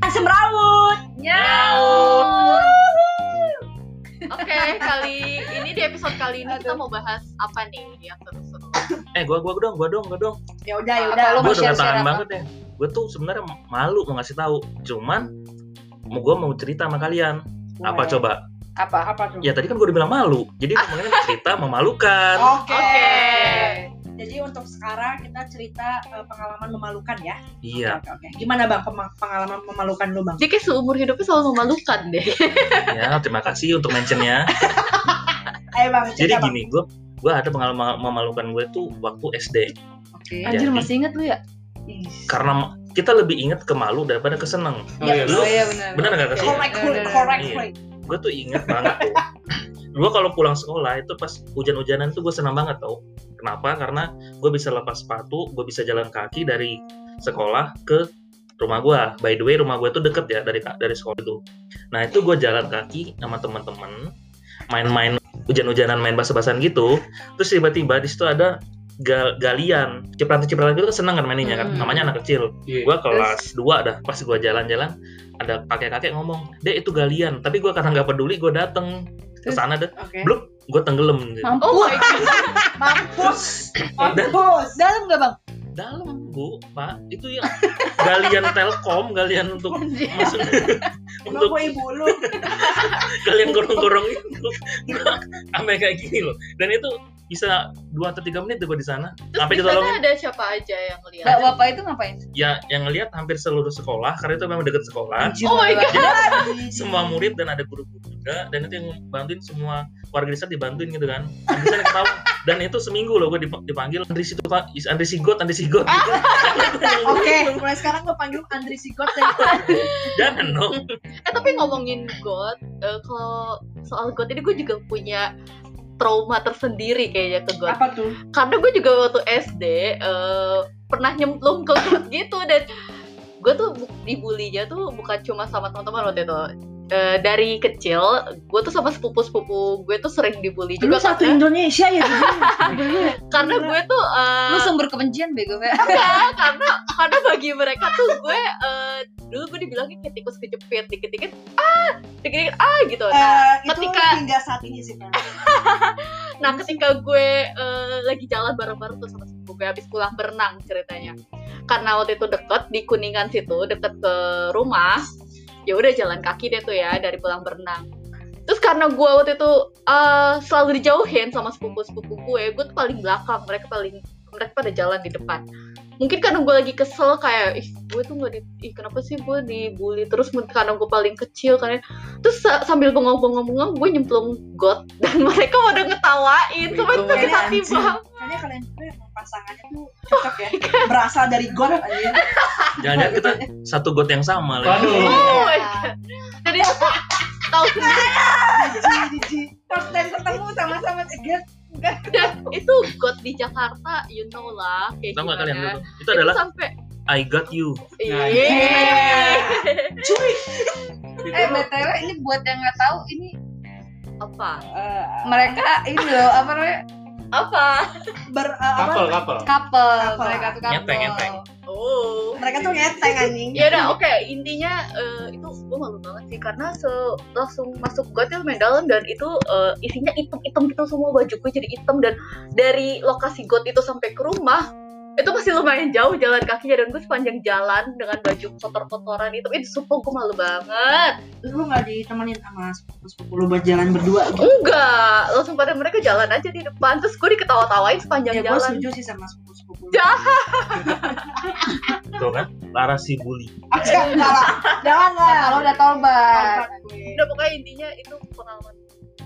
semrawut. Nyaut. Oke, kali ini di episode kali ini kita mau bahas apa nih yang seru-seru. Eh, gua gua dong, gua dong, gua dong. Ya udah, ya Apa udah. lu Gua mau udah share-share tangan apa? banget ya. Gua tuh sebenarnya malu mau ngasih tahu. Cuman mau gua mau cerita sama kalian. Apa coba? Apa? apa tuh? Ya tadi kan gua udah bilang malu. Jadi Ah. ngomongin cerita memalukan. Oh. Oke. Oke. Jadi untuk sekarang kita cerita eh, pengalaman memalukan ya. Iya, Oke, oke, oke. Gimana bang pema- pengalaman memalukan lu bang? Dia kayak seumur hidupnya selalu memalukan deh. ya terima kasih untuk mentionnya. Ayo bang, Jadi cerita bang. gini, gua gua ada pengalaman memalukan gue tuh waktu SD. Oke. Anjir, Jadi- masih inget lu ya? Karena kita lebih ingat ke malu daripada ke seneng. Oh, iya, Oh Lu iya benar. benar nggak kasih? Correct, correct, correct, Iya. correct. gue tuh inget banget tuh gue kalau pulang sekolah itu pas hujan-hujanan tuh gue senang banget tau kenapa karena gue bisa lepas sepatu gue bisa jalan kaki dari sekolah ke rumah gue by the way rumah gue tuh deket ya dari dari sekolah itu nah itu gue jalan kaki sama teman-teman main-main hujan-hujanan main basa-basan gitu terus tiba-tiba di situ ada gal- galian cipratan-cipratan itu kan seneng kan mainnya kan Hmm. namanya anak kecil Iya. gua kelas 2 dah pas gua jalan-jalan ada kakek-kakek ngomong dek itu galian tapi gua karena nggak peduli gua dateng ke sana deh Oke. Belum. gua tenggelam gitu. Oh my god. Mampus, Dan- mampus. Dalam nggak bang? dalam bu pak itu ya galian telkom galian untuk masuk Emang untuk gue ibu lu. galian gorong-gorong itu sampai kayak gini loh dan itu bisa dua atau tiga menit tuh gua di sana Terus kan? sampai di sana ditolongin ada siapa aja yang Nah, lihat? bapak itu ngapain? ya yang ngelihat hampir seluruh sekolah karena itu memang deket sekolah Anjir, Oh my Bang. Hmm. semua murid dan ada guru-guru juga dan itu yang bantuin semua warga desa dibantuin gitu kan Andri sana ketawa dan itu seminggu loh gue dipanggil Andri situ pak Is- Andri Sigot Andri Sigot gitu. Oke, mulai sekarang gue panggil Andri Sigot dan jangan dong Eh tapi ngomongin God, eh, kalau soal God ini gue juga punya trauma tersendiri kayaknya ke God. apa tuh? Karena gue juga waktu SD eh, pernah nyemplung ke God gitu dan gue tuh bu- dibulinya tuh bukan cuma sama teman-teman waktu itu. Eh, dari kecil, gue tuh sama sepupu-sepupu gue tuh sering dibully juga kan? karena, Indonesia ya. karena gue tuh eh, Lu sumber kebencian bego Eh, Bang. Enggak, karena karena bagi mereka tuh gue eh, dulu gue dibilangnya kayak tikus kejepit dikit-dikit ah dikit-dikit ah gitu nah, Eh, itu Ketika- hingga saat ini sih. Bang. nah ketika gue eh, lagi jalan bareng-bareng tuh sama sepupu gue habis pulang berenang ceritanya karena waktu itu deket di kuningan situ deket ke rumah ya udah jalan kaki deh tuh ya dari pulang berenang terus karena gue waktu itu eh, selalu dijauhin sama sepupu-sepupu gue gue tuh paling belakang mereka paling mereka pada jalan di depan mungkin karena gue lagi kesel kayak ih gue tuh nggak di ih kenapa sih gue dibully terus men- karena gue paling kecil karena terus sa- sambil bengong-bengong gue nyemplung got dan mereka pada ngetawain cuma Wih, sakit hati anjing. banget Kayaknya kalian berdua emang pasangannya tuh cocok ya. Berasal dari God aja. jangan-jangan kita satu got yang sama lagi Waduh. oh my god dan itu tuh tahu sendiri First time ketemu sama-sama eh, cegat. dan itu got di Jakarta you know lah kayak tau nggak gimana. kalian dulu itu Itu adalah sampai Eh, I got you Nah, iya. Yeay. Eh btw ini buat yang nggak tahu ini apa eh. mereka ini loh apa namanya apa ber eh, apa? Kapel, kapel. couple Couple. mereka tuh kan. couple. Ngenteng, ngenteng. oh Mereka tuh ngeteng anjing. ya Iya. udah oke intinya eh, itu gue malu banget sih karena se langsung masuk gue tuh lumayan dalam dan itu eh, isinya item-item gitu semua baju gue jadi item dan dari lokasi got itu sampai ke rumah itu masih lumayan jauh jalan kakinya dan gue sepanjang jalan dengan baju kotor-kotoran itu itu sumpah gue malu banget Lu nggak ditemenin sama sepupu-sepupu lu buat jalan berdua gitu. enggak langsung pada mereka jalan aja di depan terus gue diketawa-tawain Ya sepanjang gue jalan setuju sih sama sepupu-sepupu lu. Jahat. tuh kan Lara si bully Jangan lah. Jangan lah. Kalau udah tobat. Angkat gue. udah pokoknya intinya itu pengalaman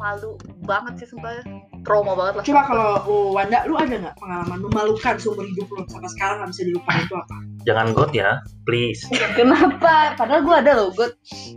malu banget sih sumpah trauma banget lah Coba kalau uh, Wanda, lu ada nggak pengalaman memalukan seumur hidup lu sampai sekarang nggak bisa dilupain itu apa? jangan got ya please Kenapa? Padahal gue ada loh, gue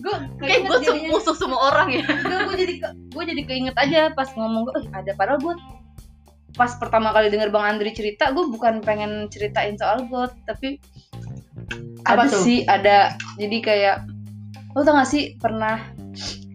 gue kayak gue tuh musuh semua orang ya gue jadi gue jadi keinget aja pas ngomong gue ada padahal gue pas pertama kali denger Bang Andri cerita gue bukan pengen ceritain soal gue tapi Apa ada tuh? sih ada jadi kayak lo tau gak sih pernah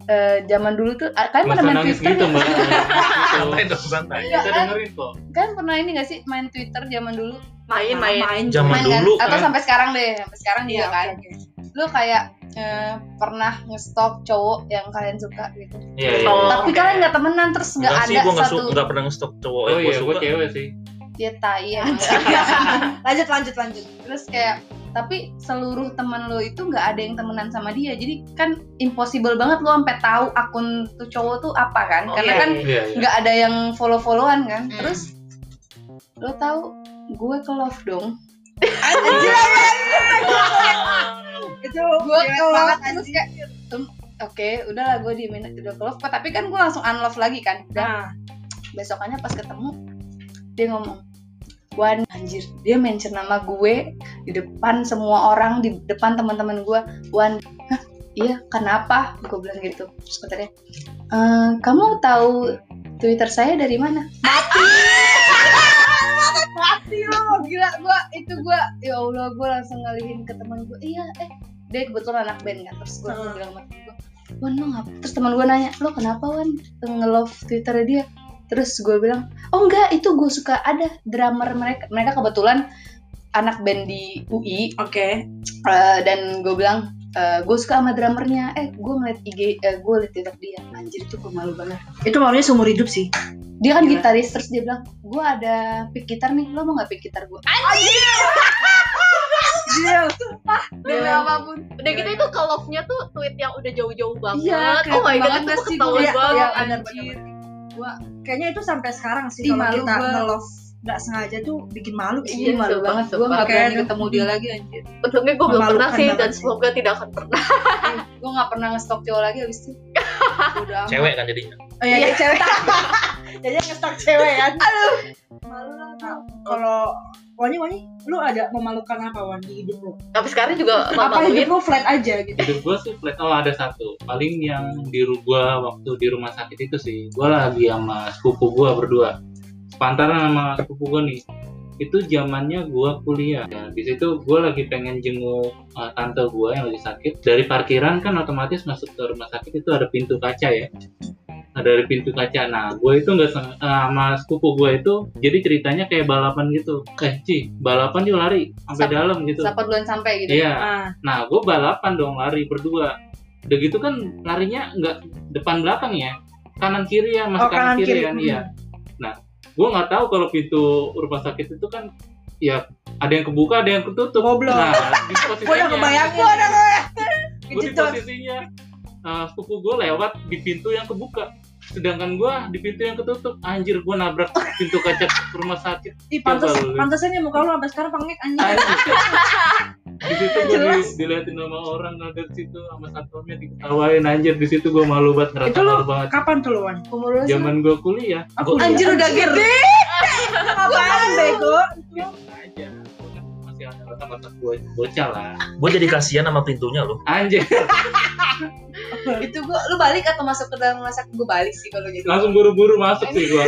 eh, zaman dulu tuh ah, kalian Masa pernah main nangis Twitter gitu, nggak? Mbak. Gitu. santai dong santai Iya, Iya, Kita kan? dengerin kok. kalian pernah ini gak sih main Twitter zaman dulu main main Main. Zaman kan? dulu, atau kan? sampai sekarang deh sampai sekarang Iya juga kan oke, oke. lu kayak eh, pernah nge-stalk cowok yang kalian suka gitu Iya, iya. Betul. tapi Oke. kalian nggak temenan terus nggak Enggak ada sih, gue nggak satu su- nggak pernah ngestok cowok Oh, yang gue iya, gue suka. cewek sih. dia tai ya. lanjut lanjut lanjut terus kayak tapi seluruh temen lo itu nggak ada yang temenan sama dia jadi kan impossible banget lo sampai tahu akun tuh cowok tuh apa kan Oh, karena iya, kan Iya, iya. nggak ada yang follow followan kan Hmm. terus lo tahu gue ke love dong anjir itu gue cewek ke love banget, terus anjir. kayak "Em, oke udahlah gue di udah ke love tapi kan gue langsung unlove lagi kan dan nah besokannya pas ketemu dia ngomong Wan anjir dia mention nama gue di depan semua orang di depan teman-teman gue Wan "Hah, iya kenapa gue bilang gitu terus kata dia "Eh, kamu tahu Twitter saya dari mana mati lo gila gue itu gue ya Allah gue langsung ngalihin ke teman gue iya eh dia kebetulan anak band kan terus gue langsung bilang sama temen gue Wan lo ngapa terus teman gue nanya lo kenapa Wan nge-love Twitter dia terus gue bilang oh enggak itu gue suka ada drummer mereka mereka kebetulan anak band di UI oke eh, dan gue bilang gue suka sama drummernya eh gue ngeliat IG eh, gue liat TikTok dia anjir itu pemalu banget itu maunya seumur hidup sih dia kan Gila. gitaris terus dia bilang gue ada pick gitar nih lo mau nggak pick gitar gue Gila. ya Iya, Demi apapun. Udah gitu itu ke love-nya tuh tweet yang udah jauh-jauh banget. Iya, oh my kelihatan god, banget itu gak tuh sih? ketahuan Iya, banget. iya, anjir. bener-bener. kayaknya itu sampai sekarang sih Ih, kalau malu kita gua. nge-love nggak sengaja tuh bikin malu Iya, sih malu sumpah, banget. Gue sumpah. gak Kayak berani ketemu dia lagi anjir. Untungnya gue belum pernah Memalukan sih banget dan sih. semoga tidak akan pernah. Gue gak pernah nge-stalk cowok lagi abis itu. Udah amat. Cewek kan jadinya. oh, iya, iya, cewek jadi ngestok cewek kan aduh malu lah Kak. kalau Wani Wani lu ada memalukan apa Wani di hidup lu Tapi sekarang juga apa hidup memaluin. lu flat aja gitu Hidup gue sih flat. Oh ada satu. Paling yang di gua waktu di rumah sakit itu sih. Gue lagi sama sepupu gue berdua. Sepantaran sama sepupu gue nih. Itu zamannya gua kuliah. Ya, di situ gua lagi pengen jenguk uh, tante gua yang lagi sakit. Dari parkiran kan otomatis masuk ke rumah sakit itu ada pintu kaca ya. Nah, dari pintu kaca. Nah, gue itu nggak seng- eh, sama sepupu gue itu jadi ceritanya kayak balapan gitu. Kayak Ci, balapan yuk lari sampai Sap- dalam gitu. Siapa duluan sampai gitu. Iya. ah Nah, gue balapan dong lari berdua. Udah gitu kan larinya nggak depan belakang ya, kanan kiri ya, oh masih kanan, kanan kiri, kiri kan iya. Gue nggak tahu kalau pintu rumah sakit itu kan ya ada yang kebuka, ada yang ketutup. Goblok. Nah, di gue udah posisinya, kebayang gue udah kebayang gue Gitu. di Kejedot. posisinya eh, sepupu gue lewat di pintu yang kebuka sedangkan gue di pintu yang ketutup anjir gue nabrak pintu kaca rumah sakit Ih, pantes, Coba lu. pantesannya muka lu sampai sekarang pengek anjing. Anjir. di situ gue di, Jelas. diliatin sama orang dari situ sama satpamnya diketawain anjir di situ gue malu banget ngerasa Itu lu- malu banget Kapan tuh lu, Wan? Umur lu sih. zaman gue kuliah Aku Anjir, udah gede. Apaan bego? biasa aja Gua kan masih ada otak-otak bo- bocah lah Gue jadi kasihan sama pintunya loh. anjir Itu Gitu, gua lu balik atau masuk ke dalam rumah sakit gue balik sih kalau gitu. langsung buru-buru masuk sih gue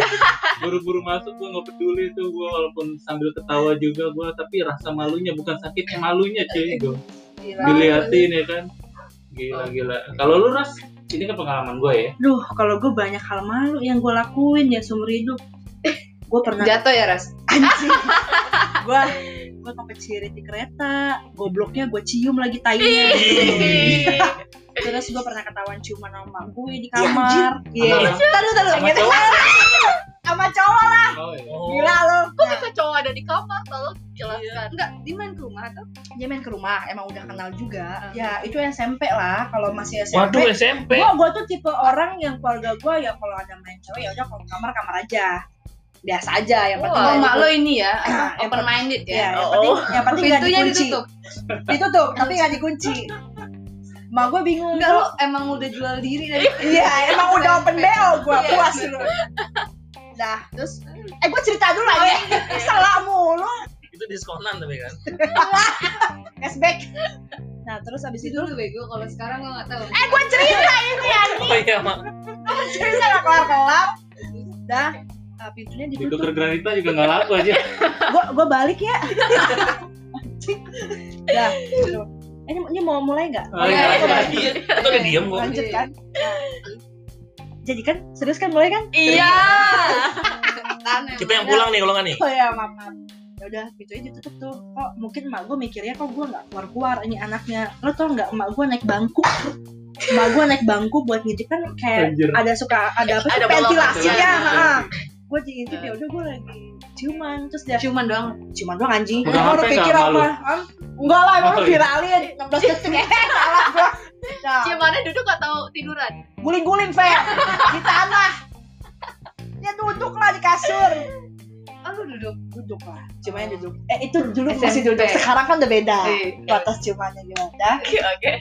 buru-buru masuk gue nggak peduli tuh gue walaupun sambil ketawa juga gue tapi rasa malunya bukan sakitnya malunya cuy gue Gila. diliatin ya kan gila-gila kalau lu ras ini kan pengalaman gue ya Duh, kalau gue banyak hal malu yang gue lakuin ya seumur hidup. Gue pernah kan Jatuh ya, Ras? anjing. gue gue sampai cirit di kereta. Gobloknya gue cium lagi tainya. Ih. Terus gue pernah ketahuan ciuman sama emak gue di kamar. Sama Iya. orang- Taduh, taduh. sama cowok Sama cowok. Oh, iya. Gila lu. Kok bisa cowok ada di kamar? Tolong jelaskan. Enggak, dia main ke rumah atau? Dia main ke rumah, emang udah kenal juga. Ya, itu SMP lah. Kalau masih SMP. Waduh SMP. Gue gue tuh tipe orang yang keluarga gue ya kalau ada main cewek ya udah kalau ke kamar kamar aja. Biasa aja yang penting Wah, Oh, mak malu. lo ini ya, Yang open minded Ya, ya. yang penting yang penting nggak Pintunya dikunci. ditutup. Ditutup, tapi nggak dikunci. Mak gue bingung. Enggak lu. lo emang udah jual diri dari Iya, emang udah open BO gue Iya. puas lu. Nah, terus eh gue cerita dulu aja. Salah mulu. Itu diskonan tapi kan. Cashback. Nah, terus abis situ itu dulu bego kalau sekarang lo enggak tahu. eh gue cerita ini ya. Oh iya mak. Cerita nggak kelar-kelar. Dah, eh, pintunya Di ditutup. tuker granita juga nggak laku aja gua gua balik ya dah gitu. Eh, ini, ini mau mulai nggak Oh, iya. Aku balik. Atau dia diem gue. lanjut kan Nah. jadi kan serius kan mulai kan Iya. Tanah. Kita yang pulang nih kalau nggak nih. oh ya maaf maaf ya udah pintunya ditutup tuh kok mungkin emak gue mikirnya kok gue nggak keluar keluar ini anaknya lo tau nggak emak gue naik bangku emak gue naik bangku buat ngintip kan kayak iya. Anjir. Iya, ada suka ada apa sih Ada bolongan ventilasi ya jalan, ada heeh. gue di itu ya udah gue lagi ciuman terus dia cuman doang ciuman doang anjing Udah Emang HP lu pikir nggak apa malu? Hah? enggak lah emang lu Oh, iya. viralin 16 detik eh salah gue nah, Gimana duduk atau tiduran? guling-guling fair di tanah dia duduk lah di kasur ah lu duduk duduk lah ciumannya duduk eh itu dulu masih SMP. duduk sekarang kan udah beda Iya. Eh, batas ciumannya gimana Oke, oke.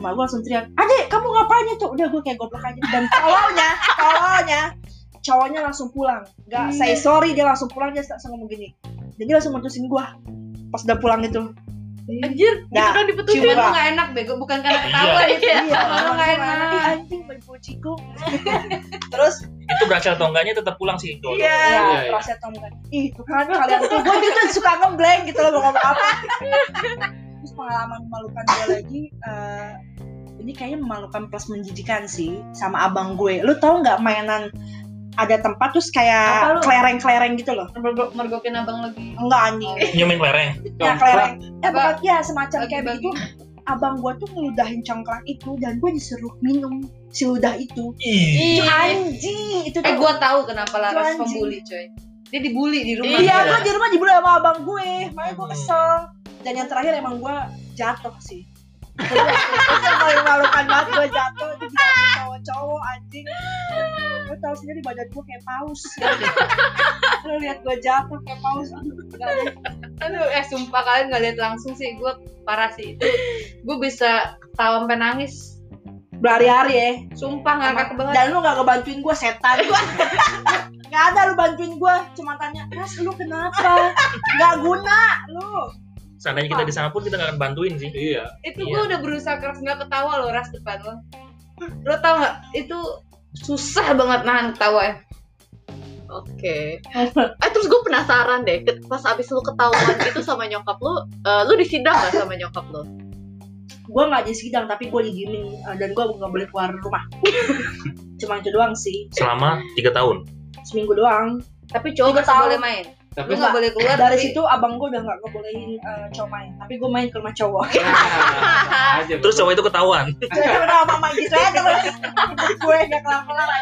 emak gue langsung teriak adek kamu ngapain itu udah gue kayak goblok aja dan cowoknya cowoknya cowoknya langsung pulang nggak say sorry dia langsung pulang dia langsung ngomong gini dan dia langsung mutusin gue pas udah pulang itu Anjir, itu gitu Nah, dong diputusin. Coba. cuman lu kan nggak enak bego bukan karena ketawa gitu Iya. iya Lu nggak enak. Ih, anjing main bociko terus itu berhasil atau enggaknya tetap pulang sih itu Iya. Iya, Iya, iya. proses temukan. Ih, Tuhan kalian tuh gue tuh suka ngeblank gitu loh mau ngomong apa. Terus pengalaman memalukan gue lagi eh, ini kayaknya memalukan plus menjijikan sih sama abang gue. Lu tau nggak mainan ada tempat terus Apa lu? kayak kelereng-kelereng gitu loh. mergokin abang lagi Enggak Oh, anjing. Iya. nyumin lereng Ya Congklak. kelereng. Ya bukan ya semacam Bagi- kayak bagi. begitu. Abang gue tuh ngeludahin congklak itu dan gue disuruh minum si ludah itu. Ih, Ih, Anjing, itu tuh. eh gua tahu kenapa Laras Anjing. pembuli coy dia dibully di rumah Iya, Iya. gue di rumah dibully sama abang gue, makanya Hmm. gue kesel. Dan yang terakhir emang gue jatuh sih. Itu yang paling malukan banget gue jatuh di belakang cowok-cowok anjing. Gue tahu sendiri badan gue kayak paus. Lo lihat gue jatuh kayak paus. Aduh, enggak deh. Aduh, eh sumpah kalian gak lihat langsung sih gue parah sih itu gue bisa ketawa sampai nangis Berhari-hari ya. sumpah ngakak banget Dan lu gak ngebantuin gue setan. gak ada lu bantuin gue. Cuma tanya, Mas lu kenapa? Gak guna lu. seandainya kita di sana pun kita nggak akan bantuin sih Iya. itu gue udah berusaha keras nggak ketawa loh ras depan lo lo tau nggak itu susah banget nahan ketawa ya Oke. Eh terus gue penasaran deh, ke- pas abis lu ketahuan itu sama nyokap lu, eh, lu disidang gak sama nyokap lu? gue nggak di sidang tapi gue didiemin uh, dan gue nggak boleh keluar rumah cuma itu doang sih selama tiga tahun seminggu doang tapi cowok Tiga masih tahun. boleh main Tapi lu nggak boleh keluar dari tapi- situ abang gue udah nggak ngebolehin uh, cowok main tapi gue main ke rumah cowok Ah, aja. terus cowok itu ketahuan jadi udah mama gitu aja terus gue nggak kelapa lama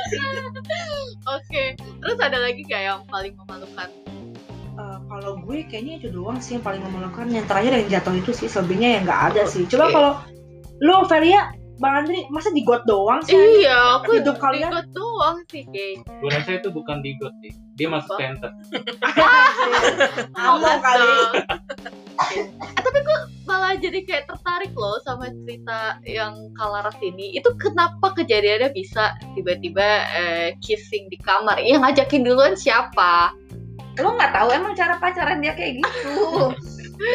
Oke. Terus ada lagi gak yang paling memalukan? Eh, kalau gue kayaknya itu doang sih yang paling memalukan yang terakhir yang jatuh itu sih selebihnya yang nggak ada sih coba Oke. kalau lu Felia Bang Andri masa di got doang sih Iya, aku Hidup kalian? ikut doang sih kayaknya. Gue rasa itu bukan di got sih. Dia masuk Apa? center. Ngomong Nggak kali. dong. Oke. Eh, tapi gue malah jadi kayak tertarik loh sama cerita yang Kalaras ini. Itu kenapa kejadiannya bisa tiba-tiba eh, kissing di kamar? Yang ngajakin duluan siapa? lo nggak tahu emang cara pacaran dia kayak gitu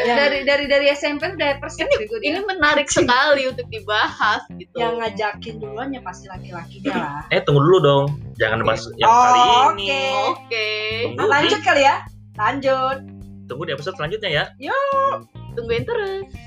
Yang- dari dari dari SMP udah persepsi gue Ini menarik sekali untuk dibahas gitu. yang ngajakin duluan ya pasti laki-lakinya lah eh tunggu dulu dong jangan bahas yang Oh, kali oke. ini Oke, tunggu Nah, di, lanjut kali ya lanjut tunggu di episode selanjutnya ya tungguin terus.